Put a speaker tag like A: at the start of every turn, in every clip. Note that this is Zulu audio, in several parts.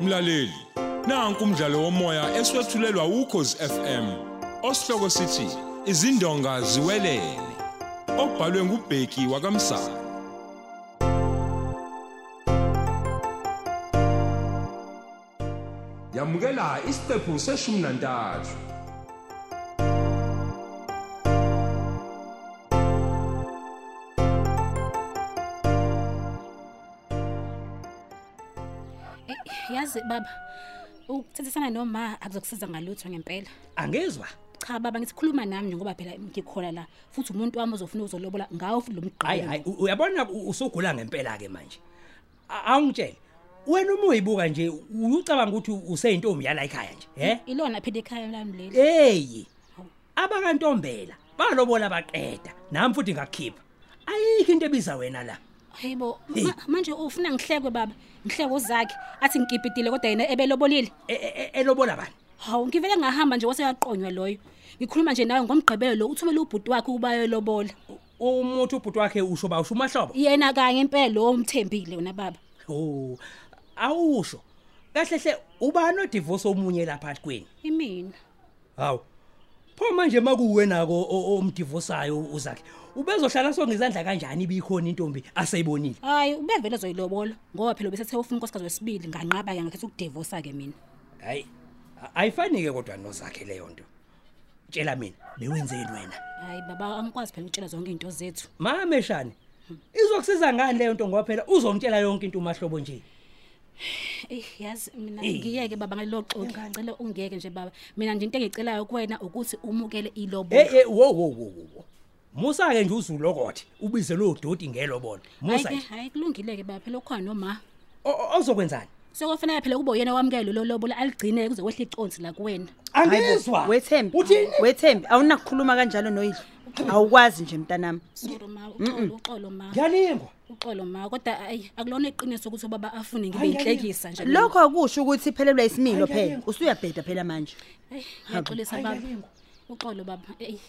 A: mlaleli nanku umdlalo womoya eswetshulelwa ukhozi FM osihloko sithi izindonga ziwelele obhalwe ngubheki wakamsa yamukela isiqephu seshumi nantathu
B: Eh, yazi baba ukuthethisana noma akuzokusiza ngalutho ngempela
C: angezwa
B: cha baba ngithi khuluma nami nje ngoba phela ngikhona la futhi umuntu wami uzofuna uzolobola ngawo futhi lo
C: hayi
B: mgqayi
C: hayi u- uyabona u- usugula ngempela ke manje A- awungitshele wena uma uyibuka nje uyucabanga ukuthi useyintombi yala ekhaya nje he
B: ilona phela ekhaya lami
C: Eh.
B: leli
C: eyi abakantombela balobola baqeda nami futhi ngakukhipha ayikho into ebiza wena la
B: hayibo
C: Hey.
B: ma- manje ufuna ngihlekwe baba ngihlekwe uzakhe athi ngikipitile kodwa yena ebelobolile
C: E- e- e- elobola bani
B: hawu ngivele ngahamba nje waseyaqonywa loyo ngikhuluma nje nawe ngomgqibelo lo uthumele ubhuti wakhe ukuba ayolobola
C: U- umuthi ubhuti wakhe usho bawusho umahlobo
B: yena kanye impela lo umthembile wena baba
C: o awusho kahle hle ubani odivorce omunye lapha kweni
B: imina
C: hawu pho manje makuwe nako o- o- omdivosayo uzakhe ubezohlala songizandla kanjani ibikhona intombi aseyibonile
B: hayi ubevele ezoyilobola ngoba phela besethe ufuna unkosikazi wesibili nganqaba-ke ngakhetha ukudivosa-ke mina
C: hayi a- ayifani-ke kodwa nozakhe leyo nto tshela mina bewenzeni wena
B: hayi baba angikwazi phela ukutshela zonke iy'nto zethu
C: mameshane izokusiza ngani leyo nto ngoba phela uzomtshela yonke into umahlobo nje
B: eyi yazi mina
C: Eh.
B: ngiyeke baba ngalelo xoki ngicela ungiyeke nje baba mina nje into engiyicelayo kuwena ukuthi umukele
C: Eh,
B: ilobola
C: eh, wo wo wo wo, wo musa-ke nje uzulokothe ubize lowo dodi ngelobona musa
B: hayi-ke
C: nje
B: hayi kulungile-ke baba phela ukhona noma
C: O- o- ozokwenzani
B: sokofanele phela kube uyena wamukele lolo lobola aligcine-ke kuzokwehla iconsi la kuwena
C: angizwa
D: wethembi
C: uthini
D: wethembi awunakukhuluma kanjalo noyidlo awukwazi nje mntanami
B: sori ma uxolo uxolo ma
C: ngiyalingwa
B: uxolo ma kodwa ayi akulona iqiniso ukuthi ubaba afune ngibe
C: Hayi, hayi.
B: yinhlekisa nje mina.
D: lokho akusho ukuthi iphelelwa isimilo
C: Hayi, hayi,
D: phela
C: hayi.
D: usuyabheda phela manje
B: Eyi, ngiyaxolisa
C: Hayi,
B: baba
C: ngiyabonga.
B: uxolo baba eyi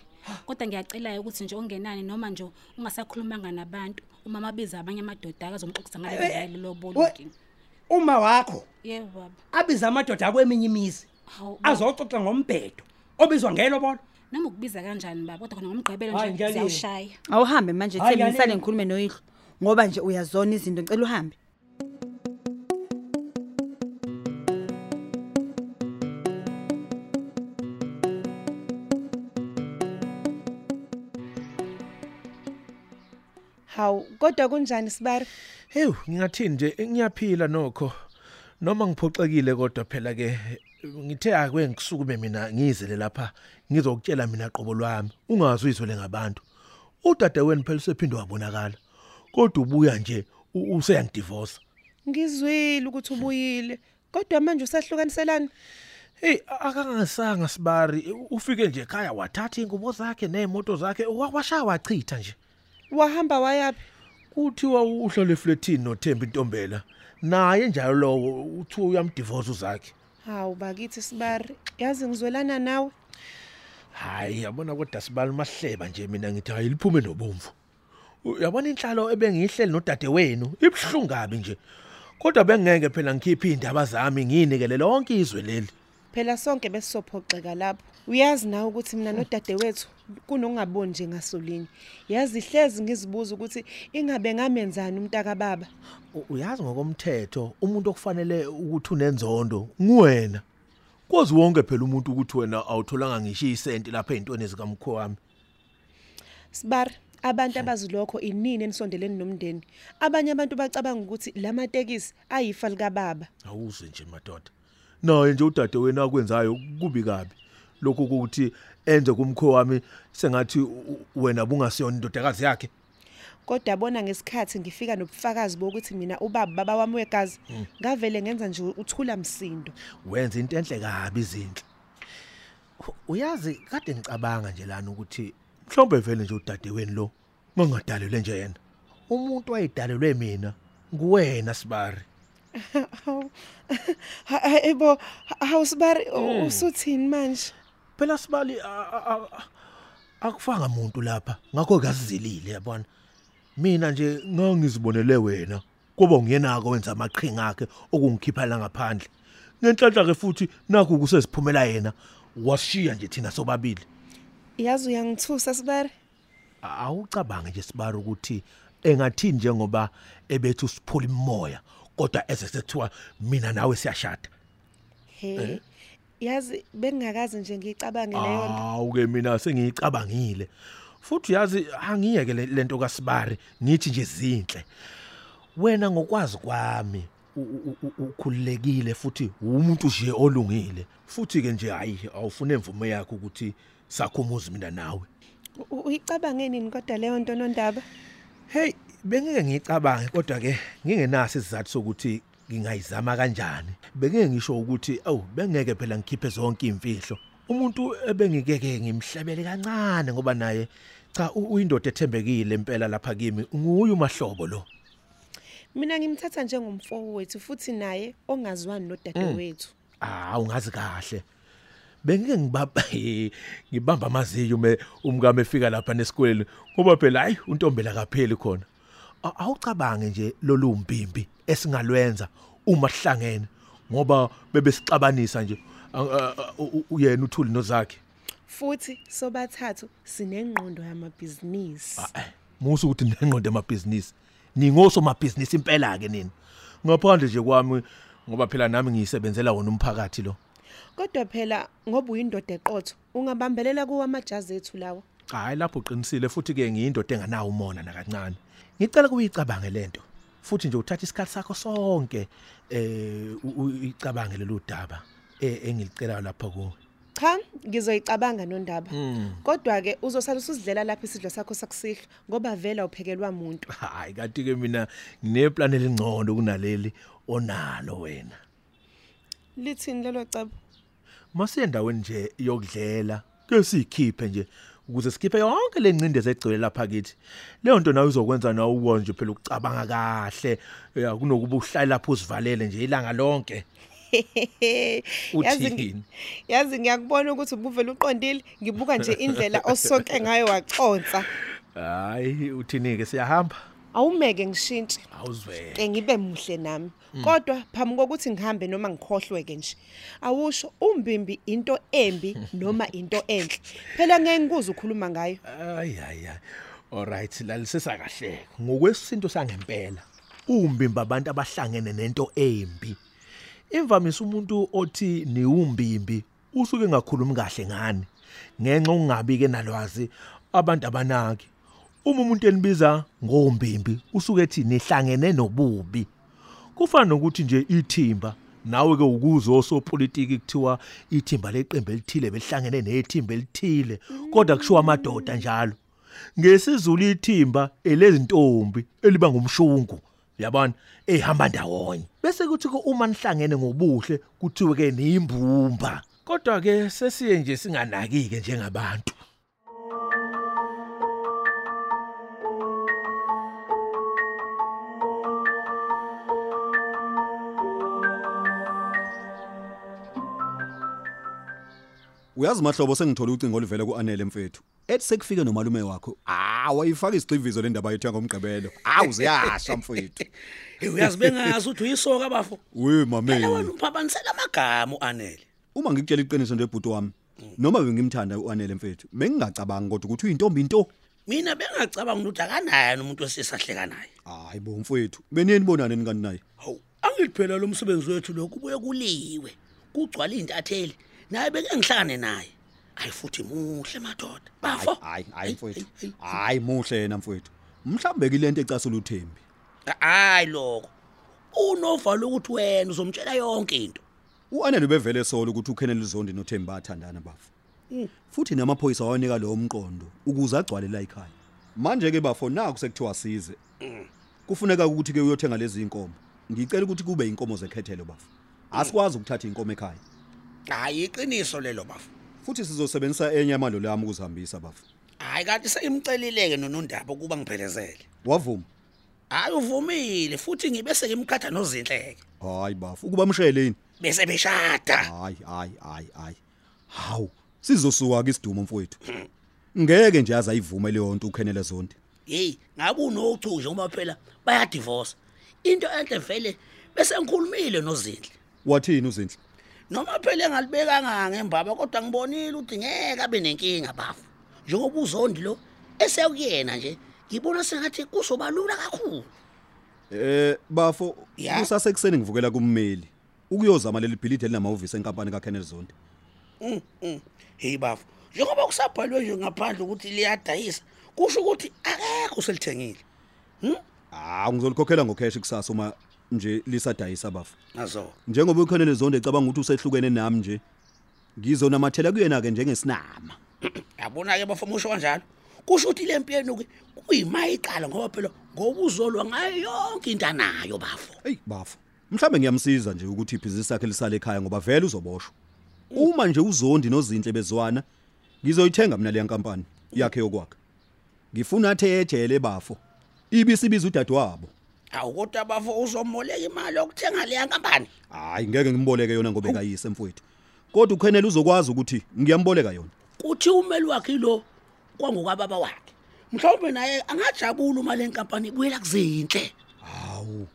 B: kodwa ngiyacelayo ukuthi nje ungenani noma nje ungasakhulumanga nabantu umama abiza abanye amadoda akazomxoxisa
C: Eh, eh, we-
B: ngaleloboloki
C: uma wakho
B: yebo baba
C: abiza amadoda akweminye imizi
B: hawu baba,
C: azoxoxa ngombhedo obizwa ngelobona
B: noma ukubiza kanjani baba kodwa khona ngomgqibelo
C: Hayi,
B: nje
C: ngiyalila.
B: ziyawushaya
D: awuhambe manje
C: Hayi,
D: thembi ngisale
C: ngiyalila.
D: ngikhulume noyidlo ngoba nje uyazona izinto ngicela uhambe
E: hawu kodwa kunjani sibari
F: Hew, ngingathini nje Eh, ngiyaphila nokho. Noma ngiphoxekile kodwa phela ke ngithe akwe ngisukume mina ngizele lapha ngizokutshela mina qobo lwami ungazuyizwe lengabantu. Udadewenu phela usephindwe wabonakala. Kodwa ubuya nje u- useyangidivorce.
E: ngizwile ukuthi ubuyile kodwa manje usahlukaniselani
F: Hey akangasanga sibari ufike nje ekhaya wathatha ingubo zakhe neemoto zakhe wa- washaya wachitha nje.
E: wahamba wayaphi
F: Kuthiwa uhlala eflatini noThembi Ntombela. Naye njalo lowo uthi uyamdivorce uzakhe.
E: hawu bakithi sibari yazi ngizwelana nawe
F: hayi yabona kodwa sibali mahleba nje mina ngithi hayi liphume nobomvu uyabona inhlalo ebengiyihleli nodade wenu ibhlungu kabi nje kodwa bengeke phela ngikhiphe indaba zami nginikele lonke izwe leli
E: phela sonke besizophoxeka lapho uyazi nawe ukuthi mina nodade wethu kunokungaboni nje ngasolinye yazi hlezi ngizibuza ukuthi ingabe ngamenzani umntakababa
F: U- uyazi ngokomthetho umuntu okufanele ukuthi unenzondo nguwena kwazi wonke phela umuntu ukuthi wena awutholanga ngisho isenti lapha ezintweni zikamkho wami
E: sibari abantu abazi lokho inini enisondeleni nomndeni abanye abantu bacabanga ukuthi la matekisi ayifa likababa
F: awuze nje madoda naye nje udade wena akwenzayo kubi kabi lokhu ukuthi enze kumkho wami sengathi u- u- wena bungasiyona indodakazi yakhe
E: kodwa bona ngesikhathi ngifika nobufakazi bokuthi mina ubaba baba wami wegazi ngavele ngenza nje uthula msindo
F: wenza into enhle kabi izinhle U- uyazi kade ngicabanga nje lana ukuthi mhlawumbe vele nje udade wenu lo ngangadalelwe nje yena umuntu wayedalelwe mina nguwena sibari
E: Hawu. Ha- ha- ebo awusibari usuthini manje
F: phela sibali a- a- a- akufanga muntu lapha ngakho kasizilile yabona mina nje ngangizibonele wena kuba ngiyenako wenza amaqhinga akhe okungikhipha la ngaphandle ngenhlanhla ke futhi nakho kuseziphumela yena washiya nje thina sobabili
E: yazi uyangithusa sibere
F: awucabange nje sibari ukuthi engathini njengoba ebethu siphula imoya kodwa eze sethiwa mina nawe siyashada
E: he yazi bengingakazi nje ngiyicabange
F: Ah.
E: leyo nto
F: awuke mina sengiyicabangile futhi uyazi angiyeke le- lento kaSibari ngithi nje zinhle wena ngokwazi kwami u- u- u- ukhululekile futhi umuntu nje olungile futhi ke nje hayi awufune imvume yakho ukuthi sakhumuzi mina nawe
E: U- uyicabange nini kodwa leyo nto nondaba
F: hey bengeke ngicabange kodwa ke ngingenaso isizathu sokuthi ngingayizama kanjani bengeke ngisho ukuthi awu bengeke phela ngikhiphe zonke imfihlo umuntu ebengikeke ngimhlebele kancane ngoba naye cha u- uyindoda ethembekile impela lapha kimi nguye umahlobo lo
E: mina ngimthatha njengomfowethu wethu futhi naye ongaziwani nodadewethu
F: ah ungazi kahle bengike ngibamba eh, ngibamba amaziyo me umkami efika lapha nesikoleni ngoba phela hayi untombela kapheli khona A- awucabange nje lolumpimbi esingalwenza uma sihlangene ngoba bebesixabanisa nje a- a- a- u- u- yena uthuli nozakhe
E: futhi sobathathu sinengqondo yamabhizinisi
F: Ah. musu ukuthi nengqondo emabhizinisi ningosomabhizinisi impela ke nini ngaphandle nje kwami ngoba phela nami ngiyisebenzela wona umphakathi lo
E: kodwa phela ngoba uyindoda eqotho ungabambelela kuwo amajazi ethu lawo
F: hayi lapho uqinisile futhi ke ngiyindoda enganawo umona nakancane ngicela kuyicabange lento futhi nje uthatha isikhathi sakho sonke eh u- u- uyicabange lolu daba eh, engilicelayo lapha kuwe
E: cha ngizoyicabanga nondaba kodwa-ke uzosala usuzidlela lapho isidlo sakho sakusihlwa ngoba vele awuphekelwa muntu
F: hayi kanti ke mina ngineplan elingcono kunaleli onalo wena
E: lithini lelo cebo
F: mase endaweni nje yokudlela ke sikhiphe nje ukuze sikhiphe yonke lencindezelo egcwele lapha kithi leyo nto nayo izokwenza nawe uwone nje phela ukucabanga kahle eh, kunokuba uhlale lapho uzivalele nje ilanga lonke
E: Yazi ngi-
F: Uthini?
E: yazi ngiyakubona ukuthi ubuvele uqondile ngibuka nje indlela osonke ngayo waconsa
F: hayi uthini ke siyahamba
E: awumeke ngishintshe
F: awuzwele
E: ke ngibe muhle nami kodwa phambi kokuthi ngihambe noma ngikhohlwe-ke nje awusho umbimbi into embi noma into enhle phela ngeke ngikuze ukhuluma ngayo
F: hayi hayi alright lalisisa kahle ngokwesinto sangempela umbimba abantu abahlangene nento embi imvamisa umuntu othi niwumbimbi usuke engakhulumi kahle ngani ngenxa ungabi ke nalwazi abantu abanaki uma umuntu enibiza ngombimbi usuke ethi nihlangene nobubi kufana nokuthi nje ithimba nawe ke ukuze osopolitiki kuthiwa ithimba leqembu elithile belihlangene nethimba elithile kodwa kushiwo amadoda njalo ngesizulu ithimba elezintombi eliba ngumshungu yabona ehamba ndawonye bese kuthi ke uma nihlangene ngobuhle kuthiwe ke niyimbumba kodwa ke sesiye nje singanaki ke njengabantu
G: uyazi mahlobo sengithole ucingo oluvela ku-anele mfethu ethi sekufike nomalume wakho awayifaka isigxivizo le ndaba yethu yangomgqibelo awu ziyasha mfethu
H: Hey uyazi bengazi ukuthi uyisoka bafo.
G: we
H: Phela wena
G: mameni
H: uphabanisela amagama uanele.
G: uma ngikutshela iqiniso nje ebhuti wami noma bengimthanda u-anele mfethu bengingacabangi kodwa ukuthi uyintombi into
H: Mina bengacabanga ukuthi akanaye nomuntu osesahleka naye.
G: hayi bo mfethu beniyeni bonane nikani naye
H: Hawu, angiphela lo msebenzi wethu lo kubuye kuliwe. Kugcwala izintatheli. Naye beke ngihlangane naye. Hayi futhi muhle madoda. Bafo.
G: hayi hayi mfethu hayi muhle yena mfethu mhlawumbe kilento ecasula uthembi
H: Hayi lokho. Unovalo ukuthi wena uzomtshela yonke into.
G: u-anele ubevele solo ukuthi ukenel zondi nothembi bathandana bafo futhi namaphoyisa wawanika lowo mqondo ukuze agcwale la ikhaya manje-ke bafo naku sekuthiwa size kufuneka ukuthi-ke uyothenga lezi inkomo ngicela ukuthi kube inkomo zekhethelo bafo asikwazi ukuthatha inkomo ekhaya
H: Hayi iqiniso lelo bafo.
G: futhi sizosebenzisa enye amalolo ami ukuzihambisa bafo
H: Hayi kanti seyimcelileke nonondaba ukuba ngiphelezele.
G: wavuma
H: Hayi uvumile futhi ngibe sengimkhatha nozinhleke.
G: hayi bafo ukuba mshele yini
H: Bese beshada.
G: hayi hayi hayi hayi hawu sizosuka-ke isidumo mfowethu ngeke nje aze ayivume leyo nto ukhenele zonde
H: hey ngabe unochu nje uma phela bayadivorce into enhle vele bese ngikhulumile nozinhle
G: wathini uzinhle
H: noma phela engalibekanga ngembaba kodwa ngibonile ukuthi ngeke abe nenkinga bafu njengoba uzondi lo eseyakuyena nje ngibona sengathi kuzoba lula kakhulu
G: Eh bafo
H: Ya.
G: kusase kuseni ngivukela kummeli ukuyozama leli bhilidi elinamahhovisi enkampani kaKenneth Zondi.
H: heyi bafu njengoba kusabhalwe nje ngaphandle ukuthi liyadayisa kusho ukuthi akekho selithengile
G: Ah ngizolikhokhela ngocash kusasa uma nje lisadayisa bafo.
H: nazo
G: Njengoba uKenneth Zondi ecabanga ukuthi usehlukene nami nje ngizonamathela kuyena ke njengesinama.
H: yabona-ke bafamusho kanjalo kusho ukuthi le mpiyenu-ke kuyima iqala ngoba phela ngoba uzolwa ngayo yonke into anayo bafo
G: Hey bafo, mhlambe ngiyamsiza nje ukuthi ibhizinisi yakhe lisale ekhaya ngoba vele uzoboshwa. Uma nje uZondi noZinhle bezwana, ngizoyithenga mina le nkampani yakhe yokwakha. Ngifuna athe ejele bafo. Ibisibiza udadewabo.
H: awu kodwa bafo uzomoleka imali yokuthenga leya nkampani
G: Hayi ngeke ngimboleke yona ngoba ekayise mfowethu. Kodwa uKhenele uzokwazi ukuthi ngiyamboleka yona.
H: kuthi umeli wakhe yilo kwangokwababa wakhe mhlawumbe naye angajabula uma le nkampani ibuyela kuzinhle
G: Hawu.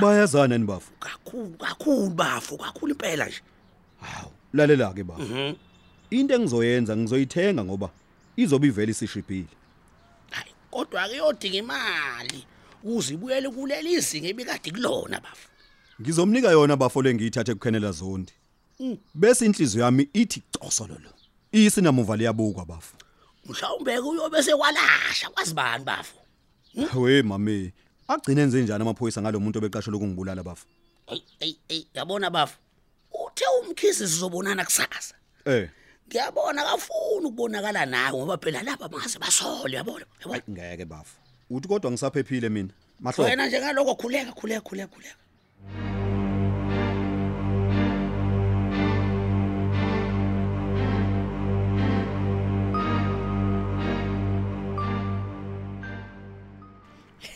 G: Bayazana ni bafo.
H: kakhulu kakhulu bafo kakhulu impela nje
G: Hawu. Mhm. Lalela ke bafo. Into engizoyenza ngizoyithenga ngoba izobe ivele isishibhile.
H: hayi kodwa-ke yodinga imali ukuze ibuyele kuleli izinga ebikade kulona bafo
G: Ngizomnika yona bafo lengiyithathe kuKhenela Zondi. Bese inhliziyo yami ithi cosololo. Isinamuva liyabukwa bafo.
H: mhlawumbe-ke uyobe sekwalasha kwazi bani bafo
G: We mami, agcine enze njani amaphoyisa ngalomuntu obeqashwe ukungibulala bafo?
H: eyi eyi eyi yabona bafo uthe umkhizi sizobonana kusasa
G: Eh,
H: ngiyabona kafuni ukubonakala nawe ngoba phela lapha bangaze basole yabona yabona
G: ngeke bafo. Uthi kodwa ngisaphephile mina. Mahlo.
H: wena nje ngaloko khuleka khuleka khuleka khuleka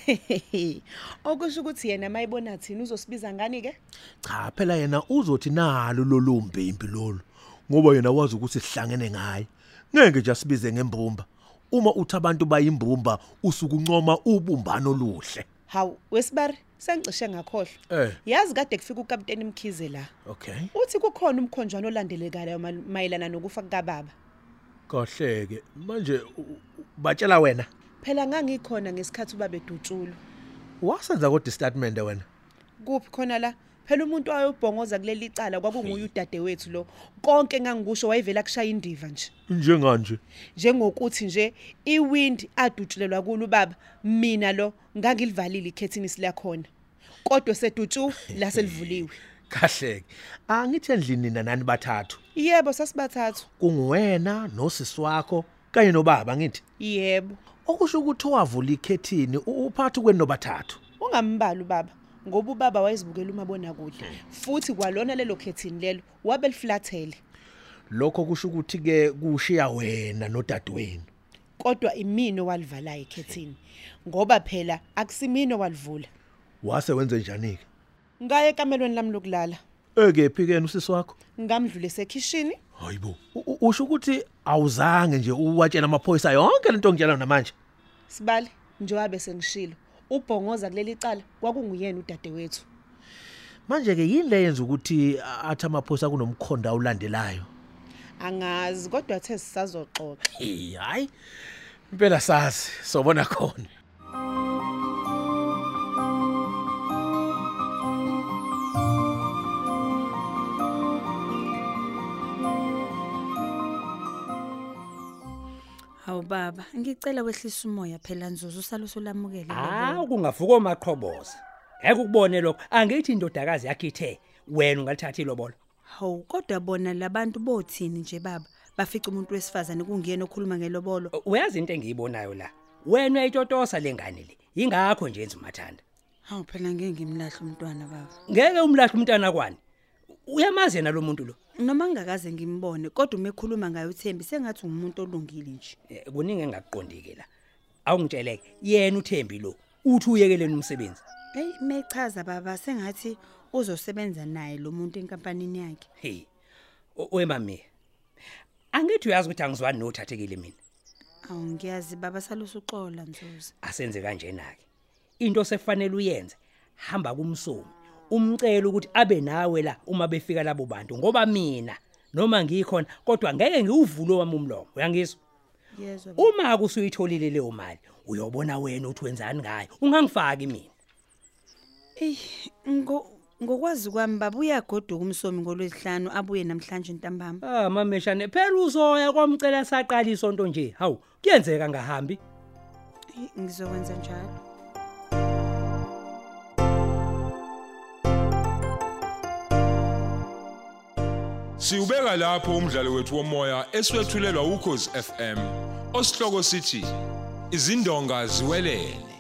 E: okusho ukuthi yena mayibona thina uzosibiza ngani ke
F: cha phela yena uzothi nalo lolumbi impilolo ngoba yena wazi ukuthi sihlangene ngaye ngeke nje asibize ngembumba uma uthi abantu bayimbumba usuke uncoma ubumbano oluhle
E: hawu wesibari sengicishe ngakhohlwa
F: Eh.
E: yazi kade kufika ukapteni mkhize la
F: okay
E: uthi kukhona umkhonjwana olandelekayo mal- mayelana nokufa kukababa
F: kahleke manje batshela wena
E: phela ngangikhona ngesikhathi ubaba edutshulwa
F: wasenza kodwa istatement wena
E: kuphi khona la phela umuntu wayobhongoza kuleli cala kwakunguye udade wethu lo konke engangikusho wayevela kushaya indiva nje
F: njenganje
E: njengokuthi nje iwind adutshulelwa kulo ubaba mina lo ngangilivalile ikhethini silakhona kodwa sedutshu laselivuliwe
F: kahleke angithe endlini nina nani bathathu
E: yebo sasibathathu
F: kunguwena nosisi wakho kanye nobaba ngithi
E: yebo
F: okusho ukuthi owavula ikhethini u- uphathi kwenobathathu
E: ungambali ubaba ngoba ubaba wayezibukela umabonakude futhi kwalona lelo khethini lelo wabe liflathele
F: lokho kusho ukuthi ke kushiya wena nodadewenu
E: kodwa imino walivalayo ikhethini ngoba phela akusimino walivula
F: wase wenze njani ke
E: ngaye ekamelweni lami lokulala
F: ekephi ke usisi wakho
E: ngamdlule sekhishini
F: hayibo U- u- usho ukuthi awuzange nje uwatshela amaphoyisa yonke lento ngitshela namanje
E: sibale njengoba sengishilo ubhongoza kuleli cala kwakunguyena udade wethu
F: manje ke yini le yenza ukuthi a- athi amaphoyisa kunomkhonda awulandelayo
E: angazi kodwa athe sisazoxoxa
F: Eh, hayi impela sazi sobona khona
D: hawu baba ngicela wehlisa umoya phela nzuzu usaloso lamukele
C: hawu kungavuka omaqhoboza ngeke ukubone lokho angithi indodakazi yakhe ithe wena ungalithatha ilobolo
D: hawu kodwa bona labantu bothini nje baba bafica umuntu wesifazane kungiyena okhuluma ngelobolo
C: uyazi into engiyibonayo la wena uyayitotosa le ngane le yingakho nje enza umathanda
D: hawu phela ngeke ngimlahle umntwana baba
C: ngeke umlahle umntana kwani uyamazi yena lo muntu lo
D: noma ngingakaze ngimbone kodwa uma ekhuluma ngayo uthembi sengathi ngumuntu olungile nje
C: Eh, kuningi engakuqondi-ke la awungitsheleke yena uthembi lo uthi uyekeleni umsebenzi
D: eyi mechaza baba sengathi uzosebenza naye lo muntu enkampanini yakhe
C: heyi wemamiya angithi uyazi ukuthi angizwani nothathekile mina
D: awu ngiyazi baba salusa uxola nzuzu
C: asenze kanjena-ke into sekufanele uyenze hamba kumsomi umcela ukuthi abe nawe la uma befika labo bantu ngoba mina noma ngikhona kodwa ngeke ngiwuvulo wami umlomo uyangizwa
D: Yezwa. baba.
C: uma kusuyitholile leyo mali uyobona wena uthi wenzani ngayo ungangifaki mina
D: Ey, ngo- ngokwazi kwami baba uyagoduka umsomi ngolwesihlanu abuye namhlanje ntambama.
C: ah mameshane phela uzoya kwamcela saqala isonto nje hawu kuyenzeka ngahambi
D: Eyi, Ngizokwenza njalo.
A: Siubeka lapho umdlalo wethu womoya eswetshulelwa ukhozi FM. Osihloko sithi izindonga ziwelele.